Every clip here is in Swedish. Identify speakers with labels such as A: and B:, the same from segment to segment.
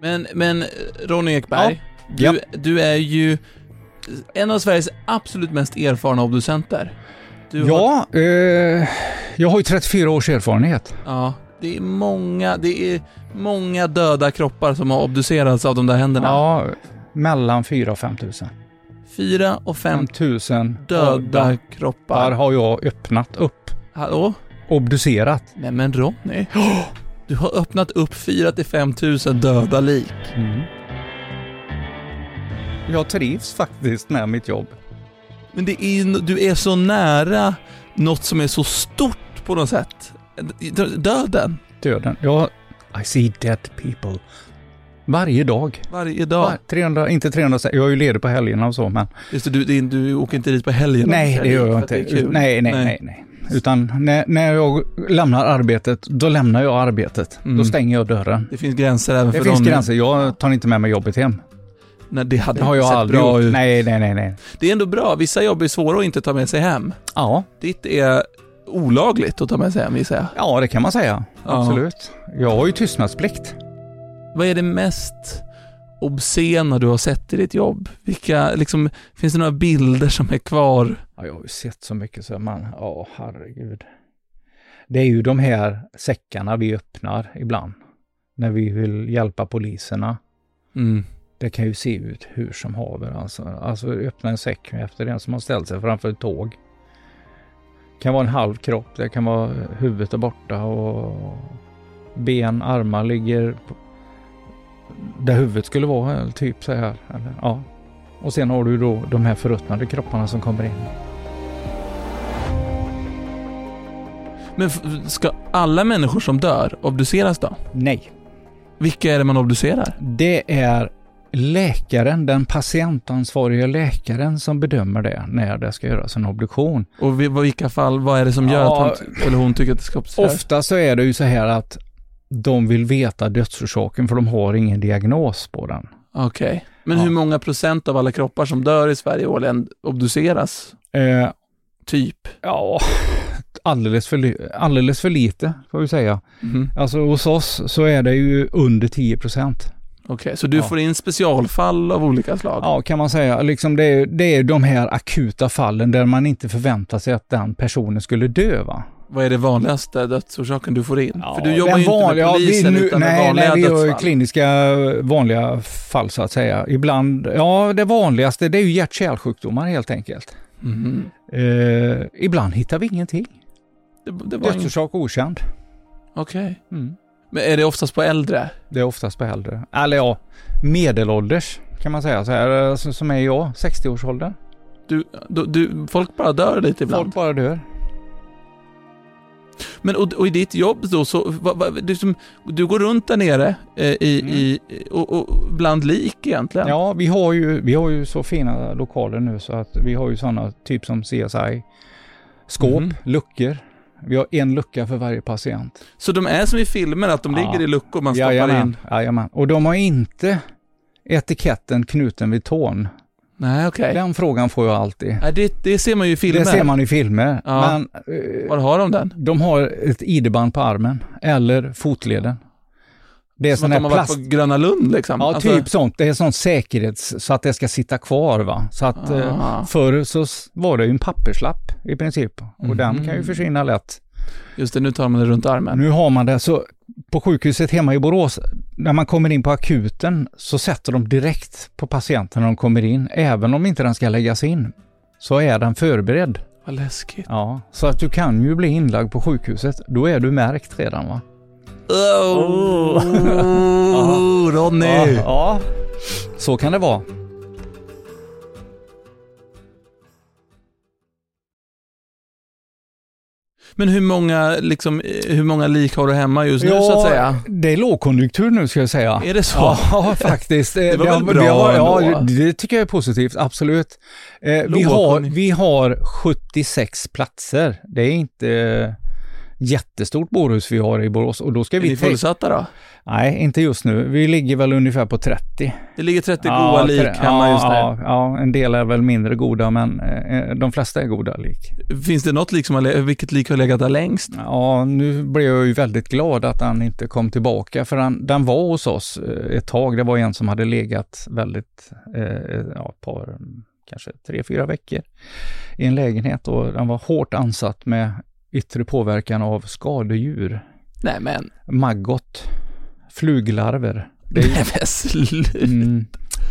A: Men, men Ronny Ekberg,
B: Ja.
A: du, du är ju en av Sveriges absolut mest erfarna obducenter. Du har,
B: Ja, eh, jag har ju 34 års erfarenhet.
A: ja. Det är många, det är många döda kroppar som har obducerats av de där händerna.
B: Ja, mellan 4 000 och 5 000.
A: Fyra och fem
B: 5 000
A: döda
B: Där
A: kroppar.
B: har jag öppnat upp,
A: Hallå?
B: obducerat.
A: Nej men Ronny. Du har öppnat upp 4 till 5 tusen döda lik.
B: Jag trivs faktiskt med mitt jobb.
A: Men det är, ju- du är så nära något som är så stort på något sätt. Döden.
B: Döden. Jag... I see dead people. Varje dag.
A: Varje dag.
B: Var- 300, inte 300, jag är ju ledig på helgerna och så men.
A: Just det, du, din- du åker inte dit på helgen.
B: Nej, det gör jag
A: För att
B: inte.
A: det är kul.
B: Nej, nej, nej, nej. Utan när, när jag lämnar arbetet, då lämnar jag arbetet.
A: Mm.
B: Då stänger jag dörren.
A: Det finns gränser även
B: Det
A: för
B: finns
A: Ronny.
B: gränser, jag tar inte med mig jobbet hem.
A: Nej, det hade
B: Det har
A: inte
B: jag
A: sett
B: aldrig
A: bra
B: gjort.
A: ut.
B: Nej, nej, nej, nej.
A: Det är ändå bra. Vissa jobb är svåra att inte ta med sig hem.
B: Ja,
A: Ditt är olagligt att ta med sig hem, gissar jag.
B: ja det kan man säga.
A: Ja.
B: Absolut. Jag har ju tystnadsplikt.
A: Vad är det mest obscena du har sett i ditt jobb? Vilka, liksom, finns det några bilder som är kvar?
B: Ja, jag har ju sett så mycket så man, ja herregud. Det är ju de här säckarna vi öppnar ibland. När vi vill hjälpa poliserna.
A: Mm.
B: Det kan ju se ut hur som haver alltså. Alltså öppna en säck efter en som har ställt sig framför ett tåg. Det kan vara en halv kropp, det kan vara huvudet är borta och ben, armar ligger på- där huvudet skulle vara, eller typ så här. Eller, ja. Och sen har du då de här förruttnade kropparna som kommer in.
A: Men f- ska alla människor som dör obduceras då?
B: Nej.
A: Vilka är det man obducerar?
B: Det är läkaren, den patientansvarige läkaren som bedömer det när det ska göras en obduktion.
A: Och vi, vad- vilka fall, vad är det som gör
B: Ja.
A: att han eller hon tycker att det ska obduceras?
B: Ofta så är det ju så här att de vill veta dödsorsaken för de har ingen diagnos på den.
A: Okej. Men
B: Ja.
A: hur många procent av alla kroppar som dör i Sverige årligen obduceras?
B: Eh,
A: Typ.
B: ja, alldeles för, li- alldeles för lite får vi säga.
A: Mhm.
B: Alltså hos oss så är det ju under 10 procent.
A: Okej, så du
B: Ja.
A: får in specialfall av olika slag?
B: Ja, kan man säga. Liksom det, är, det är de här akuta fallen där man inte förväntar sig att den personen skulle dö. Va?
A: Vad är det vanligaste dödsorsaken du får in?
B: Ja,
A: För du jobbar
B: den
A: ju inte
B: vanliga-
A: med
B: ja, vi
A: polisen
B: nu-
A: utan med
B: nej,
A: vanliga
B: nej, vi gör ju
A: dödsfall.
B: kliniska vanliga fall så att säga. Ibland, ja det vanligaste det är ju hjärt-kärlsjukdomar helt enkelt.
A: Mhm.
B: Eh, ibland hittar vi ingenting.
A: Det, det var ingen-
B: Dödsorsak okänd.
A: Okej.
B: Mm.
A: Men är det oftast på äldre?
B: Det är oftast på äldre, eller ja, medelålders kan man säga så här, alltså, som är jag, 60-årsåldern.
A: Du, du, du, folk bara dör lite ibland.
B: Folk bara dör.
A: Men och, och i ditt jobb då, så, va, va, du, som, du går runt där nere eh, i,
B: Mm.
A: i, och, och bland lik egentligen?
B: Ja, vi har, ju, vi har ju så fina lokaler nu så att vi har ju sådana typ som CSI, skåp,
A: Mhm.
B: luckor. Vi har en lucka för varje patient.
A: Så de är som i filmer, att de
B: Ja.
A: ligger i luckor man stoppar in?
B: Jajamän. Och de har inte etiketten knuten vid tån.
A: Nej, okej.
B: Den frågan får jag alltid.
A: Nej, det, det ser man ju i filmer.
B: Det ser man i filmer.
A: Ja.
B: Men eh,
A: Var har de den?
B: de har ett ID-band på armen eller fotleden. Det är
A: Som
B: sån
A: att
B: här
A: de har varit
B: plast...
A: på Gröna Lund liksom?
B: Ja,
A: Alltså-
B: typ sånt. Det är sån säkerhets... Så att det ska sitta kvar va. Så att
A: Ah.
B: eh, förr så s- var det ju en papperslapp i princip. Och den kan ju
A: Mhm.
B: försvinna lätt.
A: Just det, nu tar man det runt armen.
B: Nu har man det. Så på sjukhuset hemma i Borås, när man kommer in på akuten så sätter de direkt på patienten när de kommer in. Även om inte den ska läggas in så är den förberedd.
A: Vad läskigt.
B: Ja, så att du kan ju bli inlagd på sjukhuset. Då är du märkt redan va?
A: Oh,
B: Oh.
A: Ronny!
B: Ja, ja. så kan det vara.
A: Men hur många, liksom, eh, hur många lik har du hemma just nu
B: Ja,
A: så att säga?
B: Det är lågkonjunktur nu ska jag säga.
A: Är det så?
B: Ja, faktiskt. Det
A: var
B: har-
A: väl bra
B: har- ja,
A: ändå?
B: det tycker jag är positivt, absolut. Eh, vi, har,
A: Lågkonjunktur.
B: vi har 76 platser. Det är inte eh, jättestort bårhus vi har i Borås och då ska
A: Är
B: vi...
A: ni
B: tänka-
A: fullsatta då?
B: Nej, inte just nu. Vi ligger väl ungefär på 30.
A: Det ligger 30 goda
B: Ja,
A: lik
B: tre-
A: hemma
B: ja,
A: just nu.
B: Ja, ja, en del är väl mindre goda, men eh, de flesta är goda lik.
A: Finns det något lik som har, le- vilket lik har legat där längst?
B: Ja, nu blev jag ju väldigt glad att han inte kom tillbaka, för han, den var hos oss eh, ett tag. Det var en som hade legat väldigt, eh, ja, ett par, kanske tre, fyra veckor i en lägenhet och den var hårt ansatt med yttre påverkan av skadedjur,
A: Nej men,
B: maggot, fluglarver. Det är,
A: nej men sluta.
B: mm,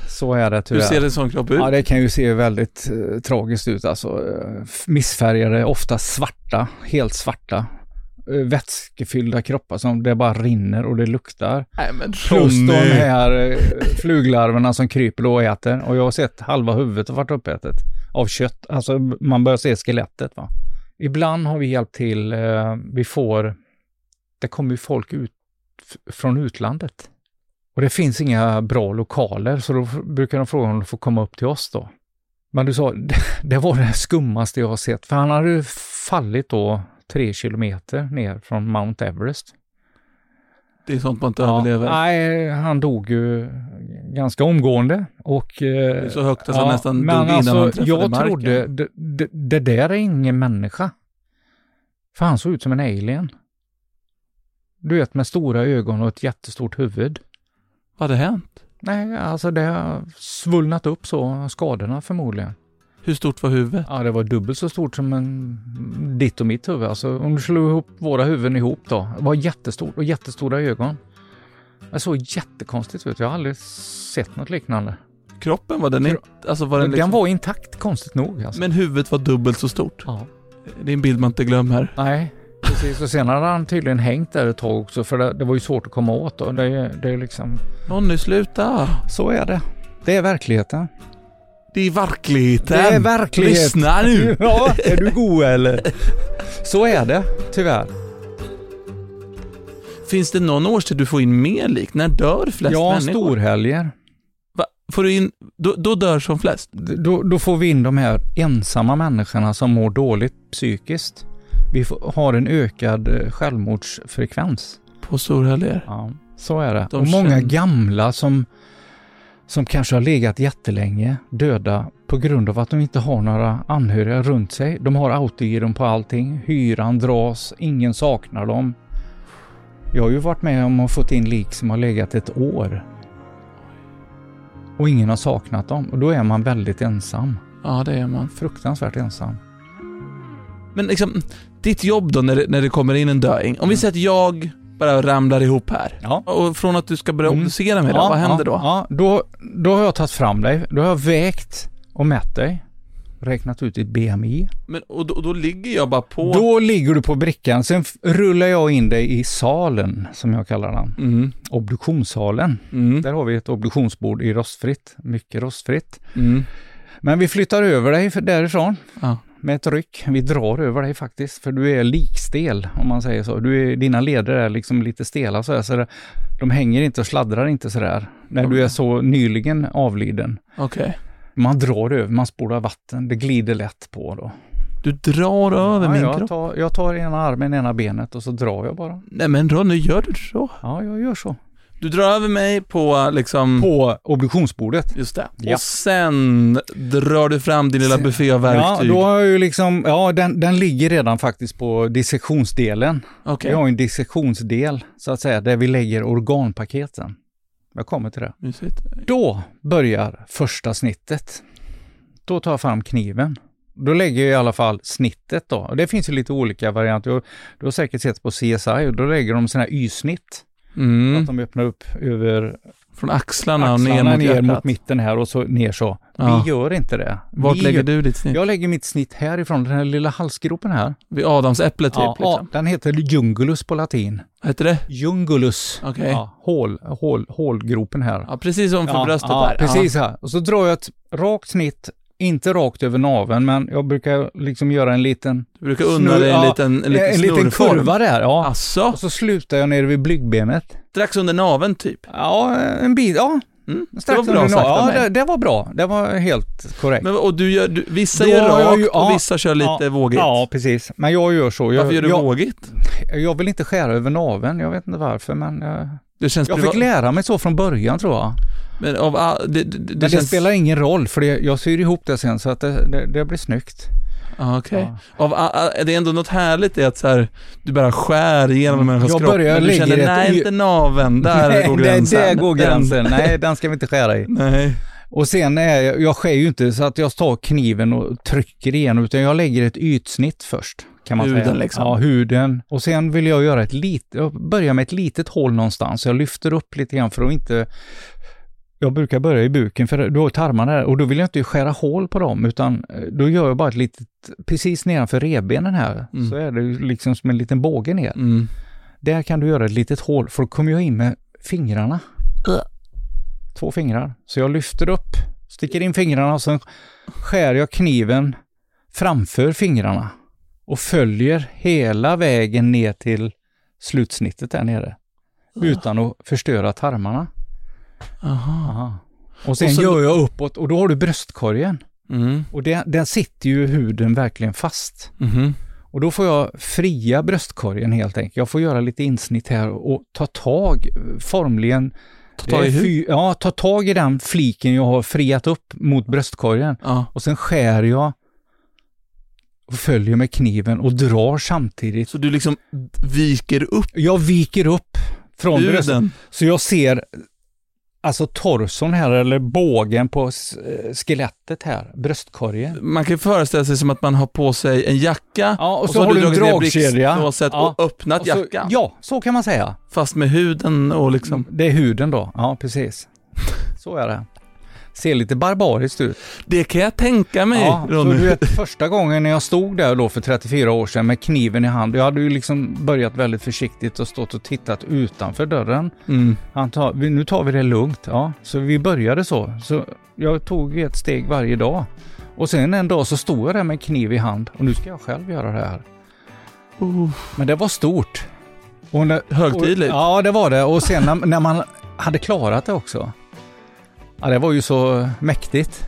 B: så är det
A: Hur
B: tyvärr.
A: ser en sån kropp ut?
B: Ja, det kan ju se väldigt eh, tragiskt ut alltså. Eh, f- Missfärgade, ofta svarta, helt svarta, eh, vätskefyllda kroppar som det bara rinner och det luktar.
A: Nej men
B: Plus de
A: Ronny.
B: här eh, fluglarverna som kryper och äter. Och jag har sett halva huvudet har varit uppätet av kött. Alltså man börjar se skelettet va. Ibland har vi hjälpt till, eh, vi får, det kommer ju folk ut f- från utlandet. Och det finns inga bra lokaler så då f- brukar de fråga om de får komma upp till oss då. Men du sa, det, det var det skummaste jag har sett. För han hade ju fallit då tre kilometer ner från Mount Everest.
A: Det är sånt man inte
B: Ja,
A: överlever.
B: Nej, han dog ju ganska omgående. Och, eh,
A: Det är så högt att han nästan dog innan han träffade
B: alltså, Jag
A: marken.
B: trodde, det, det, det där är ingen människa. För han såg ut som en alien. Du vet, med stora ögon och ett jättestort huvud.
A: Vad hade hänt?
B: Nej, alltså det har svullnat upp så, skadorna förmodligen.
A: Hur stort var huvudet?
B: Ja, det var dubbelt så stort som en, ditt och mitt huvud. Alltså, om du slog ihop våra huvuden ihop då. Det var jättestort och jättestora ögon. Det såg jättekonstigt ut. Jag har aldrig sett något liknande.
A: Kroppen var den inte, alltså var den, liksom,
B: Den var intakt, konstigt nog. Alltså.
A: Men huvudet var dubbelt så stort.
B: Ja.
A: Det är en bild man inte glömmer.
B: Nej, precis. Och sen hade han tydligen hängt där ett tag också, för det, det var ju svårt att komma åt då. Det, är- det är liksom...
A: Ronny, sluta!
B: Så är det. Det är verkligheten.
A: Det är verkligheten!
B: Det är verklighet.
A: Lyssna nu!
B: Ja, är du god eller? Så är det, tyvärr.
A: Finns det någon årstid du får in mer lik? När dör flest
B: ja,
A: människor?
B: storhelger.
A: Va? Får du in, då, då dör som flest?
B: D- då, då får vi in de här ensamma människorna som mår dåligt psykiskt. Vi får, har en ökad eh, självmordsfrekvens.
A: På storhelger?
B: Ja, så är det.
A: De
B: och många
A: känner-
B: gamla som, som kanske har legat jättelänge döda på grund av att de inte har några anhöriga runt sig. De har autogiron på allting, hyran dras, ingen saknar dem. Jag har ju varit med om att fått in lik som har legat ett år. Och ingen har saknat dem. Och då är man väldigt ensam.
A: Ja, det är man.
B: Fruktansvärt ensam.
A: Men liksom, ditt jobb då när det, när det kommer in en döing. Om vi
B: Mm.
A: säger att jag bara ramlar ihop här.
B: Ja.
A: Och från att du ska börja
B: Mm.
A: obducera mig då, vad händer
B: ja,
A: då?
B: Ja, då? Då har jag tagit fram dig. Då har jag vägt och mätt dig. Räknat ut ditt BMI.
A: Men, och då, och då ligger jag bara på...
B: Då ligger du på brickan. Sen f- rullar jag in dig i salen, som jag kallar den.
A: Mm,
B: Obduktionssalen.
A: mm,
B: Där har vi ett obduktionsbord i rostfritt. Mycket rostfritt.
A: mm.
B: Men vi flyttar över dig för- därifrån.
A: Ja.
B: Med ett ryck. Vi drar över dig faktiskt, för du är likstel om man säger så. Du är, dina leder är liksom lite stela så, här, så det, de hänger inte och sladdrar inte sådär. När du är så nyligen avliden.
A: Okej.
B: Man drar över, man spolar vatten, det glider lätt på då.
A: Du drar över
B: Ja,
A: min
B: jag,
A: kropp.
B: tar, jag tar ena armen, ena benet och så drar jag bara.
A: Nej men Ronny, gör du så?
B: Ja, jag gör så.
A: Du drar över mig på liksom...
B: På obduktionsbordet.
A: Just det.
B: Ja.
A: Och sen drar du fram din lilla buffé av verktyg.
B: Ja, då har jag ju liksom, ja den, den ligger redan faktiskt på dissektionsdelen.
A: Okej,
B: Vi har ju en dissektionsdel så att säga, där vi lägger organpaketen. Jag kommer till det.
A: mysigt.
B: Då börjar första snittet. Då tar jag fram kniven. Då lägger jag i alla fall snittet då. Och det finns ju lite olika varianter. Du har- Du har säkert sett på CSI och då lägger de sådana här Y-snitt. Att
A: Mm.
B: de öppnar upp över
A: Från axlarna,
B: axlarna
A: och ner mot hjärtat.
B: mitten här och så ner så.
A: Ja.
B: Vi gör inte det.
A: Vart
B: vi
A: lägger
B: gör-
A: du ditt snitt?
B: Jag lägger mitt snitt härifrån, den här lilla halsgropen här.
A: Vid adamsäpplet typ?
B: ja,
A: liksom.
B: Den heter jungulus på latin.
A: Vad heter det?
B: Jungulus.
A: Okej.
B: Ja, hål, hål, hålgropen här.
A: Ja, precis som för bröstet
B: ja,
A: där.
B: Precis här. Och så drar jag ett rakt snitt, inte rakt över naveln, men jag brukar liksom göra en liten,
A: Du brukar unna dig en
B: Snurr-
A: liten, en
B: en,
A: liten
B: liten
A: snurrform.
B: kurva där. Ja.
A: Alltså,
B: Och så slutar jag nere vid blygbenet.
A: strax under naveln typ.
B: Ja, en bit, ja,
A: Mm, det
B: Strax
A: var bra
B: under
A: sagt
B: noll.
A: av
B: Ja, det,
A: mig.
B: det var bra. Det var helt korrekt.
A: Men, och du gör, du, vissa
B: Då
A: gör
B: har jag
A: rakt
B: ju-
A: och
B: ja,
A: vissa kör lite
B: ja,
A: vågigt.
B: Ja, precis. Men jag gör så. Jag,
A: Varför gör du
B: jag,
A: vågigt?
B: jag vill inte skära över naveln. Jag vet inte varför, men eh,
A: Det känns
B: jag
A: privat.
B: fick lära mig så från början tror jag.
A: Men av all, det, det, det,
B: Men det
A: känns...
B: spelar ingen roll, för det, jag syr ihop det sen så att det, det, det blir snyggt.
A: Ja, okej.
B: Ja.
A: Av all, all, det är ändå något härligt i att så här, du bara skär igenom en
B: Mm.
A: människas
B: Jag
A: kropp.
B: börjar
A: men du
B: ligga i
A: känner,
B: det-
A: nej inte naveln, där
B: Nej,
A: går
B: det-
A: gränsen.
B: Där går
A: Den-
B: gränsen. Nej, den ska vi inte skära i.
A: nej.
B: Och sen är jag, jag skär ju inte så att jag tar kniven och trycker igenom, utan jag lägger ett ytsnitt först. Kan man
A: Huden
B: säga.
A: liksom.
B: Ja, huden. Och sen vill jag göra ett litet, jag börjar med ett litet hål någonstans. Jag lyfter upp lite grann för att inte jag brukar börja i buken för då är tarmarna där och då vill jag inte skära hål på dem utan eh, då gör jag bara ett litet, precis nedanför revbenen här,
A: Mm.
B: så är det ju liksom som en liten båge ner.
A: Mm.
B: Där kan du göra ett litet hål, för då kommer jag in med fingrarna.
A: Äh.
B: Två fingrar. Så jag lyfter upp, sticker in fingrarna och sen skär jag kniven framför fingrarna och följer hela vägen ner till slutsnittet där nere. Utan att förstöra tarmarna.
A: Aha.
B: Och sen,
A: Och sen-
B: gör jag uppåt och då har du bröstkorgen.
A: Mm.
B: Och där, där sitter ju huden verkligen fast.
A: Mhm.
B: Och då får jag fria bröstkorgen helt enkelt. Jag får göra lite insnitt här och ta tag, eh, formligen.
A: Ta tag
B: Det
A: i
B: är
A: hur?
B: fy- Ja, ta tag i den fliken jag har friat upp mot bröstkorgen.
A: Ja.
B: Och sen skär jag och följer med kniven och drar samtidigt.
A: Så du liksom viker upp
B: Jag viker upp från bröstet.
A: huden?
B: Så jag ser alltså torson här eller bågen på s- eh, skelettet här, bröstkorgen.
A: Man kan ju föreställa sig som att man har på sig en jacka
B: Ja, och så har du en
A: dragit ner
B: dragkedja.
A: blixtlåset
B: Ja.
A: och öppnat
B: Och så,
A: jackan.
B: ja, så kan man säga.
A: Fast med huden och liksom.
B: Det är huden då, ja precis. Så är det. Ser lite barbariskt ut.
A: Det kan jag tänka mig,
B: Ja, så
A: Ronny.
B: du vet, första gången när jag stod där då för 34 år sedan med kniven i hand, jag hade ju liksom börjat väldigt försiktigt och stått och tittat utanför dörren.
A: Mm.
B: Han tar, vi- nu tar vi det lugnt, ja. Så vi började så. Så jag tog ett steg varje dag. Och sen en dag så stod jag där med kniv i hand och nu ska jag själv göra det här.
A: Oh,
B: Men det var stort. Och när,
A: högtidligt.
B: och- Ja, det var det. Och sen när, när man hade klarat det också. Ja, det var ju så mäktigt.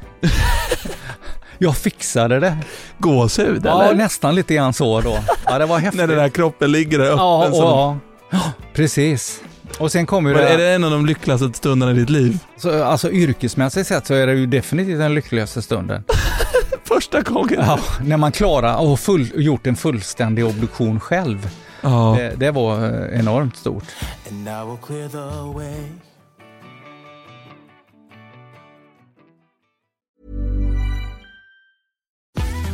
B: Jag fixade det.
A: Gåshud
B: Ja,
A: eller?
B: nästan lite grann så då. Ja, det var häftigt.
A: När den här kroppen ligger där öppen.
B: ja, och,
A: som-
B: ja. ja, precis. Och sen kommer ju
A: Men
B: det,
A: Är det en av de lyckligaste stunderna i ditt liv?
B: Så, alltså yrkesmässigt sett så är det ju definitivt den lyckligaste stunden.
A: Första gången?
B: Ja, när man klarar och full, gjort en fullständig obduktion själv.
A: Ja.
B: Det, det var eh, enormt stort.
C: and I will clear the way.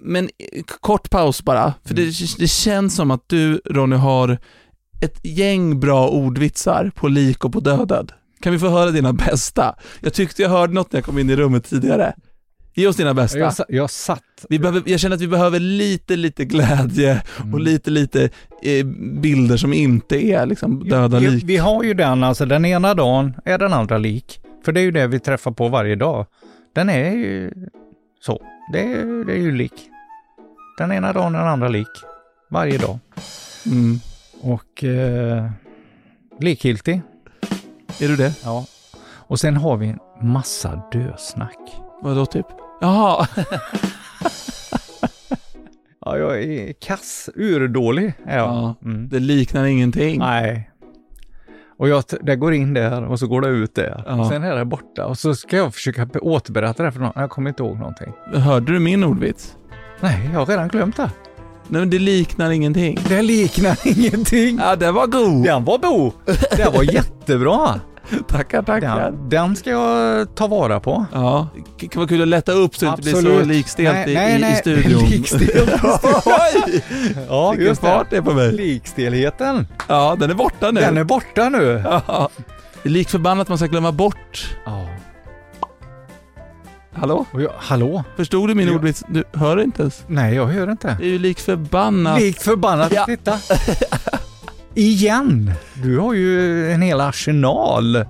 A: Men eh, kort paus bara, för det, det känns som att du Ronny har ett gäng bra ordvitsar på lik och på dödad. Kan vi få höra dina bästa? Jag tyckte jag hörde något när jag kom in i rummet tidigare. Ge oss dina bästa.
B: Jag, sa- jag satt
A: Vi behöver, jag känner att vi behöver lite, lite glädje och
B: Mm.
A: lite, lite eh, bilder som inte är liksom döda
B: vi,
A: lik.
B: Vi har ju den, alltså den ena dagen är den andra lik. För det är ju det vi träffar på varje dag. Den är ju så. Det är, det är ju lik. Den ena dagen är den andra lik. Varje dag.
A: Mm.
B: Och eh, likgiltig.
A: Är du det?
B: Ja. Och sen har vi en massa dösnack.
A: Vadå typ? Jaha,
B: Ja, jag är kass, urdålig är jag.
A: Ja.
B: Mm.
A: det liknar ingenting.
B: Nej. Och jag, t- det går in där och så går det ut där.
A: Ja.
B: Sen är det borta och så ska jag försöka be- återberätta det här för någon. Jag kommer inte ihåg någonting.
A: Hörde du min ordvits?
B: Nej, jag har redan glömt det.
A: Nej men det liknar ingenting.
B: Det liknar ingenting.
A: Ja, det var god.
B: Den var bo. Det var jättebra.
A: Tackar, tackar.
B: Den, den ska jag ta vara på.
A: Ja, det kan vara kul att lätta upp så det inte blir så
B: Absolut.
A: likstelt
B: Nej,
A: i,
B: nej,
A: i, i
B: nej.
A: studion.
B: Likstelt.
A: Oj!
B: Ja,
A: Vilken fart det är på mig.
B: Likstelheten,
A: Ja, den är borta nu.
B: den är borta nu.
A: Ja. Det är likförbannat man ska glömma bort.
B: Ja.
A: Hallå?
B: Och jag, hallå?
A: Förstod du min
B: Ja.
A: ordvits? Du hör inte ens.
B: Nej, jag hör inte.
A: Det är ju likförbannat.
B: Likt förbannat,
A: Ja.
B: titta. Igen! Du har ju en hel arsenal.
A: Ja,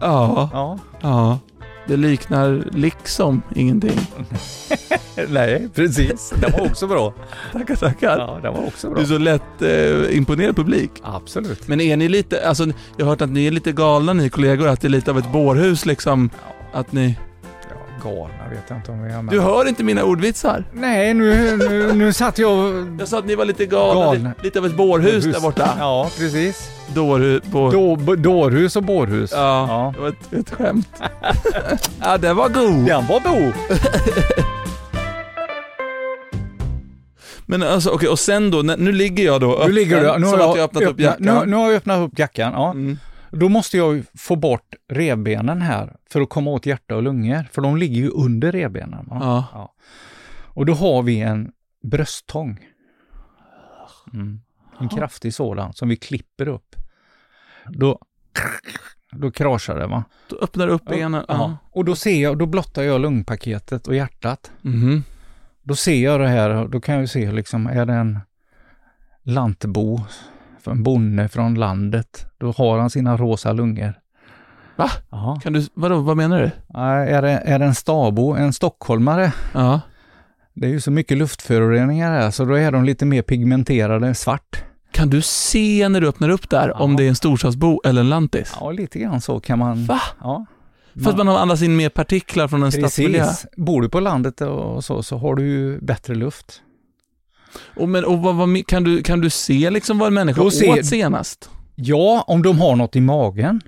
B: Ja.
A: ja. Det liknar liksom ingenting.
B: Nej, precis. Den var också bra.
A: Tackar, tackar.
B: Ja, den var också
A: Du
B: bra.
A: är så lätt eh, imponerad publik.
B: Absolut.
A: Men är ni lite, alltså jag har hört att ni är lite galna ni kollegor, att det är lite av ett bårhus liksom. Att ni...
B: Ja, galna vet jag inte om vi är med.
A: Du hör inte mina ordvitsar.
B: Nej, nu, nu, nu satt jag...
A: Jag sa att ni var lite galna,
B: Galna.
A: li- lite av ett bårhus där borta. Ja.
B: Ja, precis.
A: Dårhus, bår...
B: Då, b- dårhus och bårhus.
A: Ja,
B: Ja.
A: det var ett, ett skämt. ja, den var god.
B: Den var bo.
A: Men alltså okej, och sen då, när, nu ligger jag då
B: Nu ligger du... Nu
A: som
B: har
A: att jag öppnat upp jackan.
B: Nu, nu har jag öppnat upp jackan, ja.
A: Mm.
B: Då måste jag ju få bort revbenen här för att komma åt hjärta och lungor, för de ligger ju under revbenen. va?
A: Ja.
B: Och då har vi en brösttång. Mm. En kraftig sådan som vi klipper upp. Då, då kraschar det va?
A: Då öppnar du upp benen. Ja.
B: Ja. Och då ser jag, då blottar jag lungpaketet och hjärtat.
A: Mhm.
B: Då ser jag det här, då kan jag ju se liksom, är det en lantbo, en bonde från landet, då har han sina rosa lungor.
A: Va?
B: Ja.
A: Kan du, vadå, vad menar du?
B: Nej, Är det, är det en stabo, en stockholmare?
A: Ja.
B: Det är ju så mycket luftföroreningar här, så då är de lite mer pigmenterade svart.
A: Kan du se när du öppnar upp där om
B: Ja.
A: det är en storstadsbo eller en lantis?
B: Ja, lite grann så kan man...
A: Va?
B: Ja,
A: Fast man andas in mer partiklar från en stadsmiljö.
B: precis. Bor du på landet och så, så har du ju bättre luft.
A: Och, men, och vad, vad, kan, du, kan du se liksom vad en människa
B: Då ser-
A: åt senast?
B: Ja, om de har något i magen.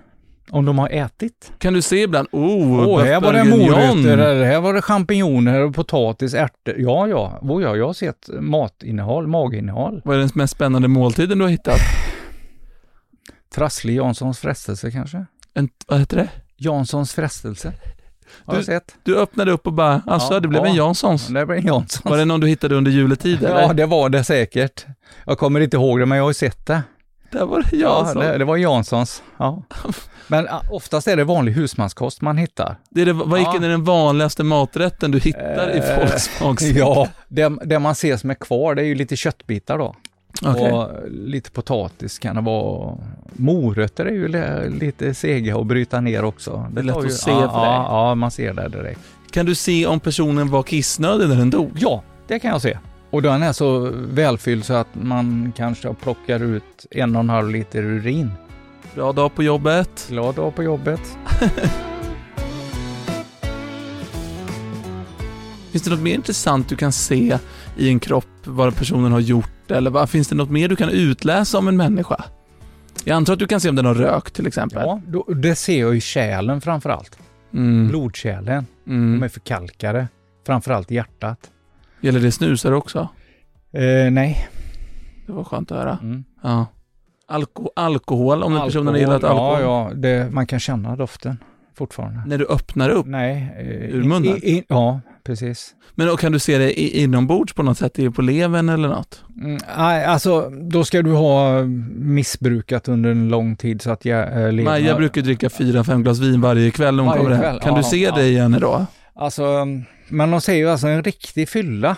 B: Om de har ätit.
A: Kan du se ibland, oh,
B: Åh, här var det
A: bœuf bourguignon.
B: morötter, eller här var det champinjoner, och potatis, ärtor. Ja, ja. Oh, ja, jag har sett matinnehåll, maginnehåll.
A: Vad är den mest spännande måltiden du har hittat?
B: Trasslig Janssons frestelse kanske?
A: En, vad heter det?
B: Janssons frestelse. Har
A: Du-
B: jag sett.
A: Du öppnade upp och bara, alltså
B: Ja,
A: det blev
B: ja.
A: en Janssons.
B: Det var en Jansson.
A: Var det någon du hittade under juletid eller?
B: Ja, det var det säkert. Jag kommer inte ihåg det, men jag har ju sett det.
A: Där var det Jansson.
B: Ja, det, det var Janssons. Ja. Men ah, oftast är det vanlig husmanskost man hittar.
A: Det är det, vad gick
B: Ja.
A: är den vanligaste maträtten du hittar i
B: Eh,
A: folks smaksätt?
B: Ja, det, det man ser som är kvar, det är ju lite köttbitar då.
A: Okej.
B: Och lite potatis kan det vara. Morötter är ju li- lite sega att bryta ner också.
A: Det är lätt
B: tar
A: att
B: ju,
A: se
B: ja,
A: för dig.
B: Ja, ja, man ser det direkt.
A: Kan du se om personen var kissnödig när den dog?
B: Ja, det kan jag se. Och den är så välfylld så att man kanske plockar ut en och en halv liter urin.
A: Bra dag på jobbet.
B: Glad dag på jobbet.
A: Finns det något mer intressant du kan se i en kropp, vad personen har gjort eller vad? Finns det något mer du kan utläsa om en människa? Jag antar att du kan se om den har rökt till exempel?
B: Ja, då, det ser jag i kärlen framför allt.
A: Mm.
B: Blodkärlen, de
A: Mm.
B: är förkalkade. Framförallt hjärtat.
A: Gäller det snusare också?
B: Eh, nej.
A: Det var skönt att höra.
B: Mm.
A: Ja. Alko- alkohol, om den personen har gillat alkohol?
B: Ja, ja, det, man kan känna doften fortfarande.
A: När du öppnar upp?
B: Nej. eh,
A: Ur munnen?
B: I, i, ja, precis.
A: Men och kan du se det i, inombords på något sätt? Är det på levern eller något?
B: Mm, nej, alltså, då ska du ha missbrukat under en lång tid så att jag eh, lever.
A: Maja brukar dricka fyra, fem glas vin varje kväll när hon
B: Varje
A: kommer hem.
B: kväll,
A: Kan
B: ja,
A: du se
B: ja.
A: det i henne då?
B: Alltså, men de säger ju alltså en riktig fylla.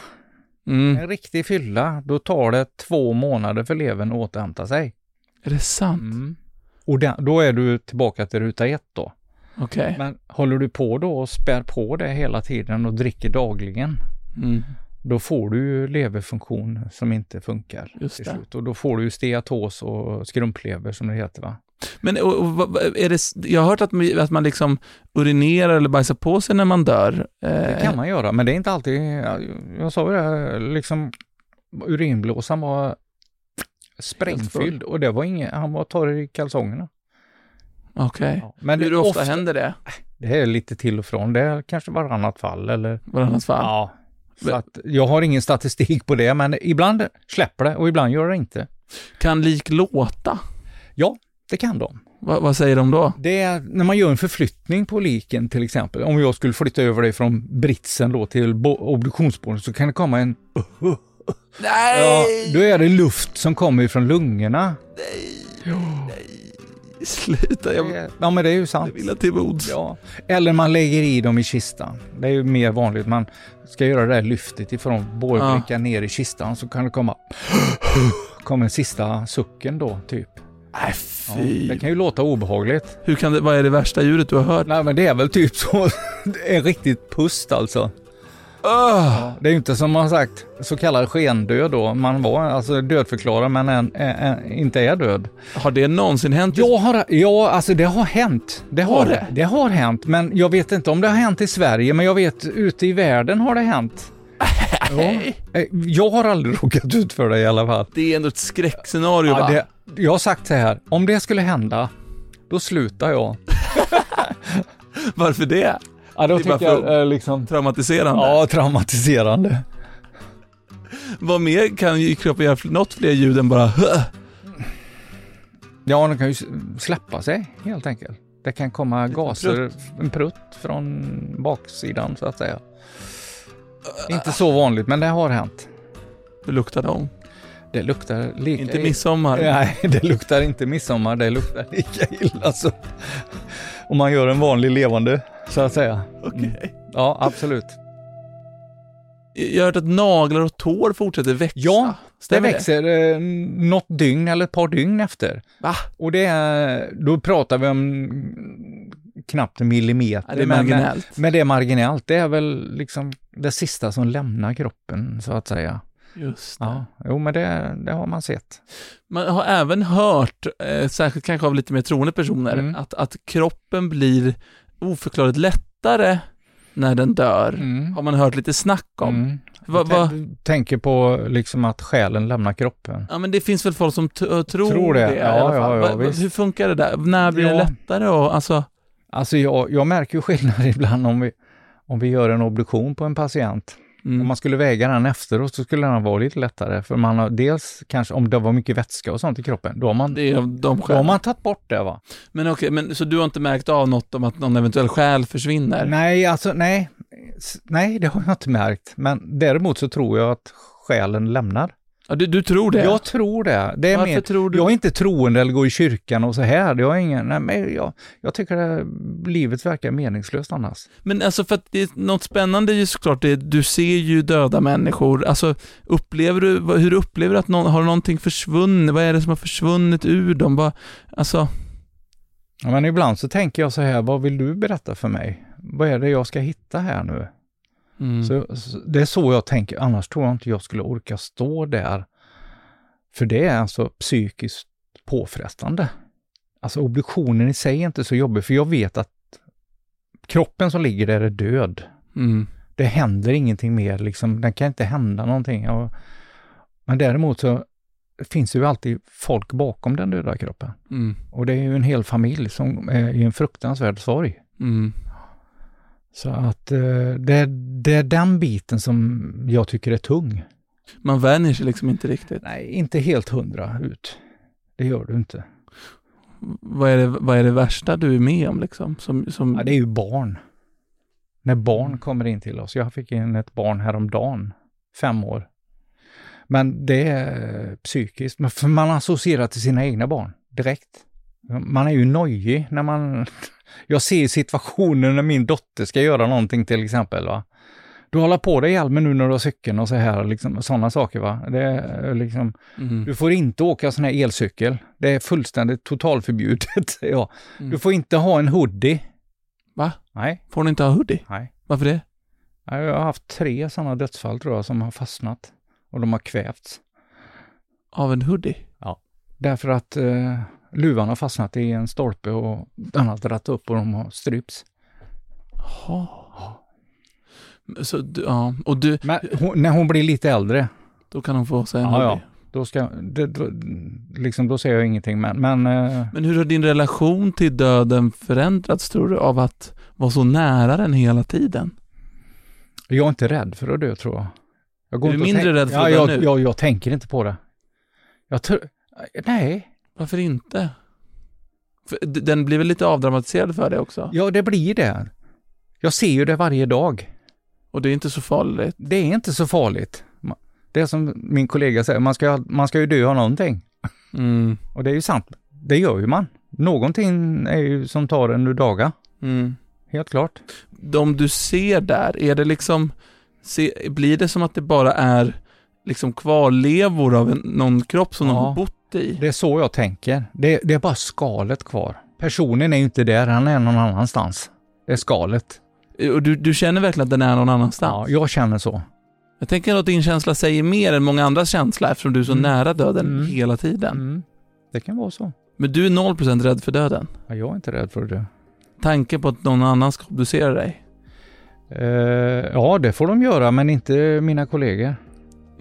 A: Mm.
B: En riktig fylla, då tar det två månader för levern att återhämta sig.
A: Är det sant?
B: Och den, då är du tillbaka till ruta ett då.
A: Okej.
B: Men håller du på då och spär på det hela tiden och dricker dagligen,
A: Mm.
B: då får du ju leverfunktion som inte funkar.
A: Just
B: till
A: det.
B: slut. Och då får du ju steatos och skrumplever som det heter va?
A: Men och, och, vad- vad- är det, s- jag har hört att, man- att man liksom urinerar eller bajsar på sig när man dör. Eh,
B: Det kan man göra, men det är inte alltid, ja, jag sa ju det, här, liksom urinblåsan var sprängfylld och det var ingen, han var torr i kalsongerna.
A: Okej.
B: Ja, Men
A: Hur ofta, händer det?
B: Det är lite till och från, det är kanske varannat fall eller...
A: Varannat fall?
B: Ja. Så att jag har ingen statistik på det, men ibland släpper det och ibland gör det inte.
A: Kan lik låta?
B: Ja, Det kan de.
A: Va, vad säger de då?
B: Det är när man gör en förflyttning på liken till exempel. Om jag skulle flytta över dig från britsen då till bo- obduktionsbordet så kan det komma en...
A: Nej!
B: Ja, då är det luft som kommer ifrån lungorna.
A: Sluta, jag vill-
B: Ja men det är ju sant.
A: jag vill ha till mods.
B: Ja. Eller man lägger i dem i kistan. Det är ju mer vanligt. Man ska göra det där lyftet ifrån borrbrickan ner i kistan så kan det komma... Kommer den sista sucken då, typ.
A: Nej,
B: Ja,
A: fy.
B: det kan ju låta obehagligt.
A: Hur kan det, vad är det värsta djuret du har hört?
B: Nej men det är väl typ så. Det är riktigt pust alltså.
A: Öh!
B: Det är ju inte som man har sagt så kallad skendöd då. Man var alltså dödförklarad men en, en, en, inte är död.
A: Har det någonsin hänt?
B: Jag har, ja, alltså det har hänt. Det har,
A: Har det?
B: det? det har hänt, men jag vet inte om det har hänt i Sverige, men jag vet ute i världen har det hänt. Ja. Eh, Jag har aldrig råkat ut för det i alla fall.
A: Det är ändå ett skräckscenario
B: Ja,
A: va?
B: det, jag har sagt så här, om det skulle hända, då slutar jag.
A: Varför det?
B: Ja, då
A: Det är bara
B: tycker jag
A: för-
B: eh, liksom...
A: Traumatiserande.
B: Ja, traumatiserande.
A: Vad mer kan ju kroppen göra? för- Något fler ljud än bara "Huh."
B: Ja, de kan ju s- släppa sig helt enkelt. Det kan komma gaser, en prutt från baksidan så att säga. Inte så vanligt, men det har hänt.
A: Hur luktar de?
B: Det luktar lika
A: Inte midsommar.
B: Nej, det luktar inte midsommar. Det luktar lika illa som om man gör en vanlig levande, så att säga.
A: Okej.
B: Ja, absolut.
A: Jag har hört att naglar och tår fortsätter växa.
B: Ja, Det
A: Stämmer
B: växer eh, något dygn eller ett par dygn efter.
A: Va?
B: Och det är, då pratar vi om knappt en millimeter.
A: Ja, det är
B: men- eh,
A: marginellt.
B: Men det är marginellt. Det är väl liksom det sista som lämnar kroppen, så att säga.
A: Just det.
B: Ja, jo, men det, det har man sett.
A: Man har även hört, eh, särskilt kanske av lite mer troende personer,
B: Mm.
A: att, att kroppen blir oförklarligt lättare när den dör. Har man hört lite snack om.
B: Mm.
A: Va, va?
B: Jag tänker på liksom att själen lämnar kroppen.
A: Ja men det finns väl folk som t- ö, tror,
B: Tror det.
A: i
B: Ja,
A: alla fall.
B: ja, ja,
A: Va- va-
B: visst.
A: Hur funkar det där? När blir det
B: Ja.
A: lättare och alltså,
B: Alltså jag, jag märker ju skillnad ibland om vi, om vi gör en obduktion på en patient. Om
A: mm,
B: man skulle väga den efteråt så skulle den vara lite lättare. För man har dels kanske, om det var mycket vätska och sånt i kroppen, då har man,
A: det är av de
B: då har
A: skälen.
B: man tagit bort det va?
A: Men okej, men, så du har inte märkt av något om att någon eventuell själ försvinner?
B: Nej, alltså nej. S- Nej, det har jag inte märkt. Men däremot så tror jag att själen lämnar.
A: Ja, du, du tror det?
B: Jag tror det. det är
A: Varför
B: mer,
A: tror du-
B: Jag är inte troende eller går i kyrkan och så här. Jag, är ingen, nej, men jag, jag tycker att livet verkar meningslöst annars.
A: Men alltså för att det är något spännande är ju såklart, det, du ser ju döda människor, alltså upplever du, vad- hur upplever du att någon, har någonting försvunnit, vad är det som har försvunnit ur dem? Vad, alltså,
B: Ja, men ibland så tänker jag så här, vad vill du berätta för mig? Vad är det jag ska hitta här nu?
A: mm.
B: Så, så, det är så jag tänker, annars tror jag inte jag skulle orka stå där. För det är alltså psykiskt påfrestande. Alltså obduktionen i sig är inte så jobbig, för jag vet att kroppen som ligger där är död.
A: mm.
B: Det händer ingenting mer, liksom. den kan inte hända någonting. Och, men däremot så finns det ju alltid folk bakom den döda kroppen.
A: Mm.
B: Och det är ju en hel familj som är i en fruktansvärd sorg.
A: Mm.
B: Så att eh, det, det är den biten som jag tycker är tung.
A: Man vänjer sig liksom inte riktigt.
B: Nej, inte helt hundra ut. Det gör du inte.
A: Vad är det, vad är det värsta du är med om liksom? Som, som, Mm.
B: Ja, det är ju barn. När barn kommer in till oss. Jag fick in ett barn häromdagen, fem år. Men det är eh, psykiskt, Men för man associerar till sina egna barn direkt. Man är ju nojig när man... Jag ser situationer när min dotter ska göra någonting till exempel. Va? Du håller på dig ihjäl med nu när du har cykeln och så här, liksom, sådana saker. Va? Det är eh, liksom,
A: mm.
B: du får inte åka sån här elcykel. Det är fullständigt totalförbjudet. ja.
A: Mm.
B: Du får inte ha en hoodie.
A: Va?
B: Nej.
A: Får ni inte ha hoodie?
B: Nej.
A: Varför det?
B: Nej, Jag har haft tre sådana dödsfall tror jag som har fastnat. Och de har kvävts.
A: Av en hoodie?
B: Därför att eh, luvan har fastnat i en stolpe och den har dragit upp och de har strypts.
A: Jaha. Så, du, ja, och du,
B: Men hon, när hon blir lite äldre,
A: då kan hon få sig en
B: ja, ja,
A: hoodie.
B: då ska, det, då, liksom, då säger jag ingenting. Men, men eh,
A: Men hur har din relation till döden förändrats tror du av att vara så nära den hela tiden?
B: jag är inte rädd för att dö tror jag. jag
A: Är du
B: inte och
A: mindre
B: tänk-
A: rädd för att
B: ja,
A: dö
B: jag,
A: nu?
B: Jag, jag tänker inte på det. Jag tror, nej,
A: Varför inte? För d- Den blir väl lite avdramatiserad för dig också?
B: Ja, det blir det. Jag ser ju det varje dag.
A: Och det är inte så farligt.
B: Det är inte så farligt. Ma- Det är som min kollega säger, man ska, man ska ju dö av någonting.
A: Mm.
B: Och det är ju sant. Det gör ju man. Någonting är ju som tar en ur daga.
A: Mm.
B: Helt klart.
A: de du ser där, är det liksom, se, blir det som att det bara är liksom kvarlevor av en, någon kropp som de
B: Ja.
A: har bott i?
B: Det är så jag tänker. Det, det är bara skalet kvar. Personen är ju inte där, han är någon annanstans. Det är skalet.
A: Eh, Och du, du känner verkligen att den är någon annanstans?
B: Ja, jag känner så.
A: Jag tänker att din känsla säger mer än många andras känsla eftersom du är så
B: Mm.
A: nära döden
B: Mm.
A: hela tiden.
B: Mm. Det kan vara så.
A: Men du är 0% rädd för döden.
B: Ja, jag är inte rädd för det.
A: Tanken på att någon annan ska obducera dig,
B: Eh, ja, det får de göra, men inte mina kollegor.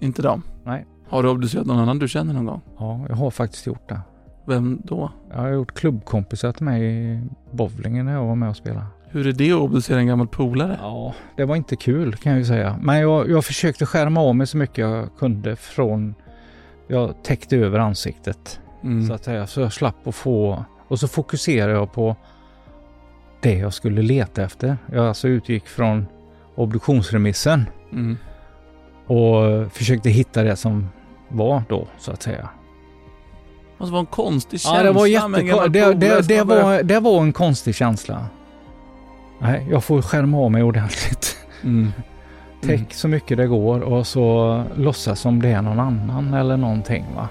A: inte dem.
B: Nej.
A: Har du obducerat någon annan du känner någon gång?
B: Ja, jag har faktiskt gjort det.
A: Vem då?
B: Jag har gjort klubbkompisar till mig i bowlingen när jag var med och spelade.
A: Hur är det att obducera en gammal polare?
B: Ja, det var inte kul kan jag ju säga. Men jag, jag försökte skärma av mig så mycket jag kunde från... Jag täckte över ansiktet
A: Mm.
B: så att säga. Så jag slapp att få... Och så fokuserade jag på det jag skulle leta efter. Jag alltså utgick från obduktionsremissen
A: Mm.
B: och försökte hitta det som var då så att säga.
A: Det måste vara en konstig känsla
B: Ja, det var
A: med en
B: jättekonstigt.
A: gammal
B: Det,
A: polare
B: det,
A: som
B: det,
A: har börjat
B: var, det var en konstig känsla. Nej, jag får skärma av mig ordentligt.
A: Mm.
B: Täck så mycket det går och så låtsas som det är någon annan eller någonting va.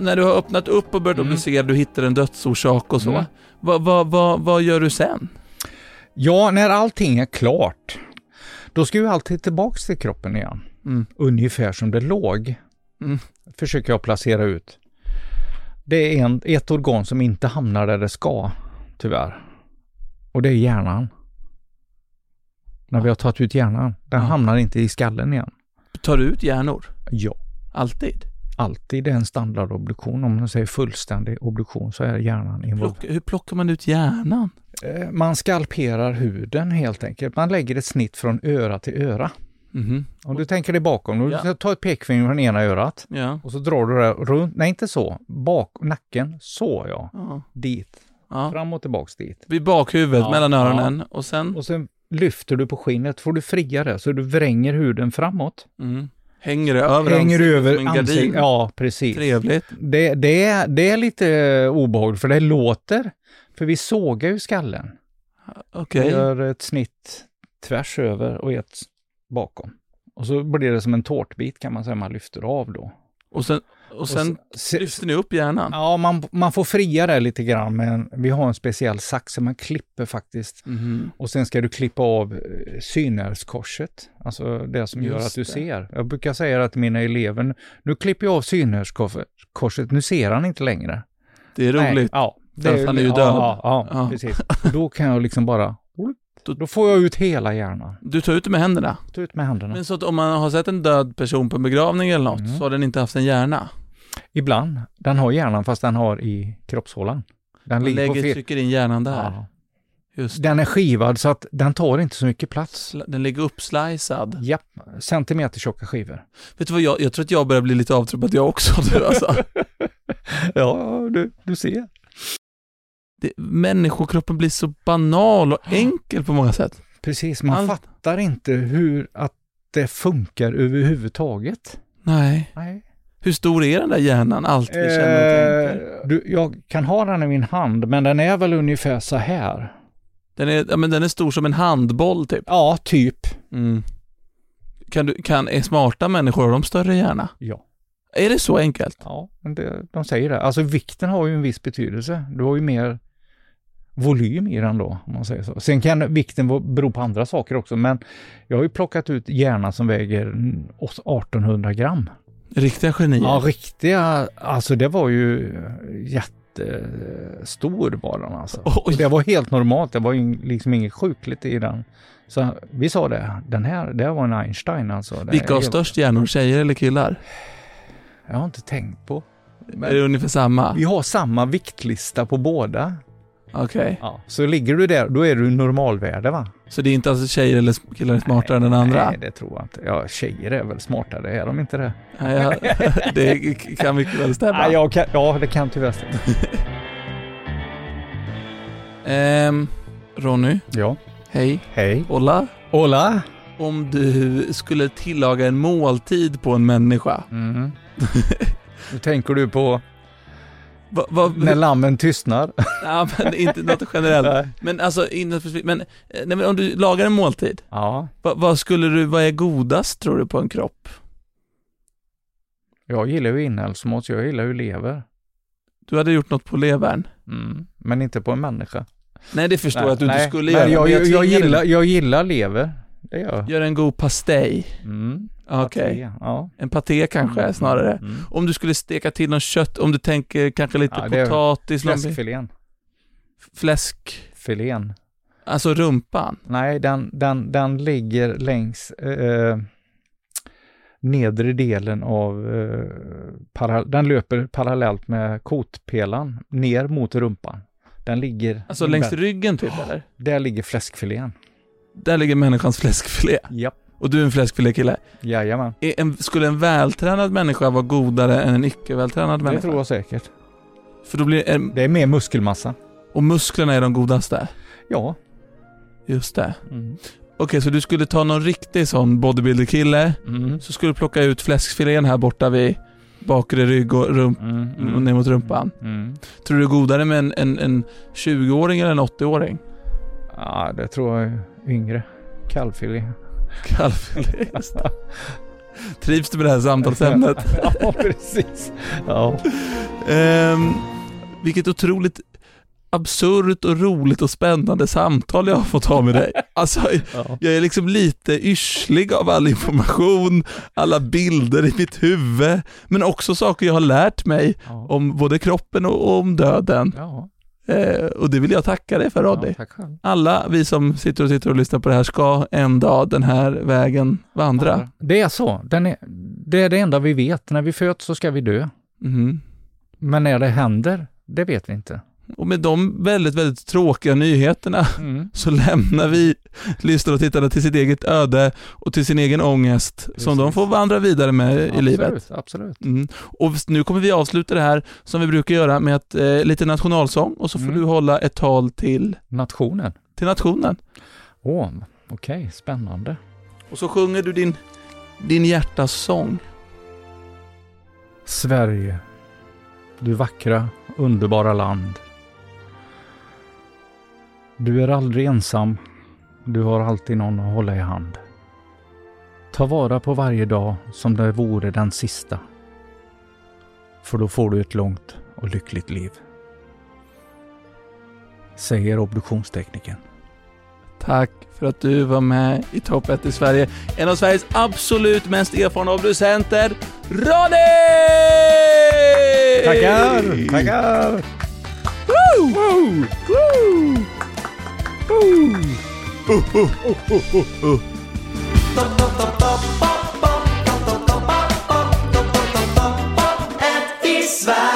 A: När du har öppnat upp och börjat
B: Mm.
A: obducera, du hittar en dödsorsak och så.
B: Mm.
A: Vad vad- vad- vad gör du sen?
B: Ja, när allting är klart, då ska ju alltid tillbaks till kroppen igen.
A: Mm.
B: Ungefär som det låg.
A: Mm.
B: Försöker jag placera ut. Det är en, ett organ som inte hamnar där det ska, tyvärr. Och det är hjärnan. När vi har tagit ut hjärnan, den
A: Ja.
B: hamnar inte i skallen igen.
A: Tar du ut hjärnor?
B: Ja,
A: Alltid?
B: alltid är en standardobduktion. Om man säger fullständig obduktion så är hjärnan involverad.
A: Plock, hur plockar man ut hjärnan?
B: Eh, Man skalperar huden helt enkelt. Man lägger ett snitt från öra till öra.
A: Mhm.
B: Om du tänker dig bakom, om du
A: Ja.
B: ska ta ett pekfinger från ena örat
A: Ja.
B: och så drar du det runt, nej inte så, bak, nacken, så ja,
A: ja.
B: dit,
A: ja.
B: fram och tillbaks dit.
A: Vid bakhuvudet,
B: Ja,
A: mellan
B: ja.
A: öronen och sen
B: Och sen lyfter du på skinnet, får du fria det, så du vränger huden framåt.
A: mm. hänger det över
B: Hänger
A: ansiktet
B: över
A: som en gardin.
B: ansiktet. Ja, precis.
A: Trevligt.
B: Det, det, är- det är lite obehagligt, för det låter, för vi sågar ju skallen.
A: Okej.
B: Vi gör ett snitt tvärs över och ett bakom. Och så blir det som en tårtbit kan man säga, man lyfter av då.
A: Och sen, och sen
B: se-
A: lyfter ni upp hjärnan?
B: Ja, man, man får fria det lite grann, men vi har en speciell sax som man klipper faktiskt.
A: Mhm.
B: Och sen ska du klippa av eh, synhärskorset, alltså det som gör
A: Just
B: att du
A: det.
B: ser. Jag brukar säga det till mina elever, nu klipper jag av synhärskorset, nu ser han inte längre.
A: Det är
B: Nej,
A: roligt.
B: ja,
A: För att han är ju
B: ja,
A: död.
B: Ja, ja,
A: Ja.
B: precis. Då kan jag liksom bara,
A: Då-
B: då får jag ut hela hjärnan.
A: Du tar ut det med händerna?
B: Ta ut med händerna.
A: Men så att om man har sett en död person på en begravning eller något,
B: Mm.
A: så har den inte haft en hjärna?
B: Ibland. Den har hjärnan fast den har i kroppshålan. Den
A: Man
B: ligger på
A: lägger,
B: fel...
A: trycker in hjärnan där.
B: Ja.
A: Just
B: Den är skivad så att den tar inte så mycket plats.
A: Sla- Den ligger uppslicead.
B: Japp, centimeter tjocka skivor.
A: Vet du vad, jag, jag tror att jag börjar bli lite avtrubbad jag också nu alltså.
B: Ja, du, du ser.
A: Det, människokroppen blir så banal och enkel på många sätt.
B: Precis, man
A: Allt-
B: fattar inte hur att det funkar överhuvudtaget.
A: Nej.
B: Nej.
A: Hur stor är den där hjärnan, allt vi känner och tänker?
B: Eh, du, jag kan ha den i min hand, men den är väl ungefär så här.
A: Den är, ja, men den är stor som en handboll typ.
B: Ja, typ.
A: Mm. Kan, du, kan är smarta människor, har de större hjärna?
B: Ja.
A: Är det så enkelt?
B: Ja, men det, de säger det. Alltså vikten har ju en viss betydelse. Du har ju mer volym i den då, om man säger så. Sen kan vikten vara- bero på andra saker också, men jag har ju plockat ut hjärnan som väger mm, 1800 gram.
A: Riktiga genier?
B: Ja, riktiga, alltså det var ju jättestor var den alltså.
A: Oj.
B: Och det var helt normalt, det var ju liksom inget sjukligt i den. Så vi sa det, den här, det här var en Einstein alltså. Det-
A: Vilka har störst hjärnor, tjejer eller killar?
B: Jag har inte tänkt på. Men-
A: Är det ungefär samma?
B: Vi har samma viktlista på båda.
A: Okej.
B: Så ligger du där, då är du i normalvärde va?
A: Så det är inte alltså tjejer eller killar är smartare än den andra?
B: Nej, det tror jag inte. Ja, tjejer är väl smartare, är de inte det?
A: Nej, jag, det kan mycket väl stämma.
B: Nej, jag kan, ja, det kan tyvärr stämma.
A: Ehm, Ronny,
B: Ja.
A: hej.
B: Hej.
A: Ola,
B: Hola!
A: om du skulle tillaga en måltid på en människa,
B: Mm. Då tänker du på
A: va, va,
B: när lammen tystnar.
A: ja, men inte något generellt,
B: Nej.
A: men alltså, inte specifikt. men, eh, nej, men om du lagar en måltid,
B: ja,
A: va, vad skulle du, vad är godast tror du på en kropp?
B: jag gillar ju inälvsmått, jag gillar ju lever.
A: Du hade gjort något på levern?
B: Mm. Men inte på en människa.
A: Nej, det förstår
B: Nej,
A: jag att du inte
B: nej,
A: skulle
B: nej,
A: göra.
B: Jag,
A: men
B: jag, jag,
A: tvingar dig.
B: gillar, jag gillar lever. Det gör jag.
A: Gör en god pastej. Ah,
B: Mm.
A: Okej,
B: Ja.
A: en paté kanske snarare.
B: Mm.
A: Om du skulle steka till något kött, om du tänker kanske lite
B: Ja, det är-
A: potatis, någon-
B: Fläskfilén.
A: fläsk.
B: Filén.
A: Alltså rumpan?
B: Nej, den, den, den ligger längs eh, nedre delen av... Eh, para, den löper parallellt med kotpelan ner mot rumpan. Den ligger...
A: Alltså längs
B: Mm, där,
A: ryggen typ eller?
B: där ligger fläskfilén.
A: Där ligger människans fläskfilé.
B: Japp.
A: Och du är en fläskfilékille.
B: Jajamän.
A: Är En, skulle en vältränad människa vara godare än en icke-vältränad
B: Det
A: människa?
B: tror jag säkert.
A: För då blir en,
B: Det är mer muskelmassa.
A: och musklerna är de godaste?
B: Ja.
A: Just det. Okej, så du skulle ta någon riktig sån bodybuilder-kille,
B: Mm.
A: så skulle du plocka ut fläskfilén här borta vid bakre rygg och rump,
B: Mm,
A: och ner mot rumpan.
B: Mm.
A: Tror du det är godare med en, en, en 20-åring eller en 80-åring?
B: Ja, det tror jag är yngre. Kalvfilé.
A: Kalvfilé, just det. Trivs du med det här samtalsämnet?
B: ja, precis. Ja.
A: Ehm, vilket otroligt absurt och roligt och spännande samtal jag har fått ha med dig. Alltså,
B: ja.
A: jag är liksom lite yrslig av all information, alla bilder i mitt huvud, men också saker jag har lärt mig
B: ja.
A: om både kroppen och och om döden.
B: ja.
A: Eh, och det vill jag tacka dig för Roddy.
B: tack själv.
A: Alla vi som sitter och sitter och lyssnar på det här ska en dag den här vägen vandra.
B: Det är så. Den är, det är det enda vi vet. När vi föds så ska vi dö.
A: Mhm.
B: Men när det händer, det vet vi inte.
A: Och med de väldigt, väldigt tråkiga nyheterna
B: Mm.
A: så lämnar vi lyssnare och tittare till sitt eget öde och till sin egen ångest som
B: Precis.
A: de får vandra vidare med i
B: absolut,
A: livet.
B: Absolut.
A: Mm. Och nu kommer vi avsluta det här som vi brukar göra med att, eh, lite nationalsång och så får
B: Mm.
A: du hålla ett tal till,
B: Nationen.
A: till nationen.
B: Åh, okej, spännande.
A: Och så sjunger du din, din hjärtas sång.
B: Sverige, du vackra, underbara land. Du är aldrig ensam. Du har alltid någon att hålla i hand. Ta vara på varje dag som det vore den sista. För då får du ett långt och lyckligt liv. Säger obduktionsteknikern.
A: Tack för att du var med i Topp 1 i Sverige. En av Sveriges absolut mest erfarna obducenter, Ronny!
B: Tackar!
A: Woo! Woo! Woo! Woo!
D: Ett i Sverige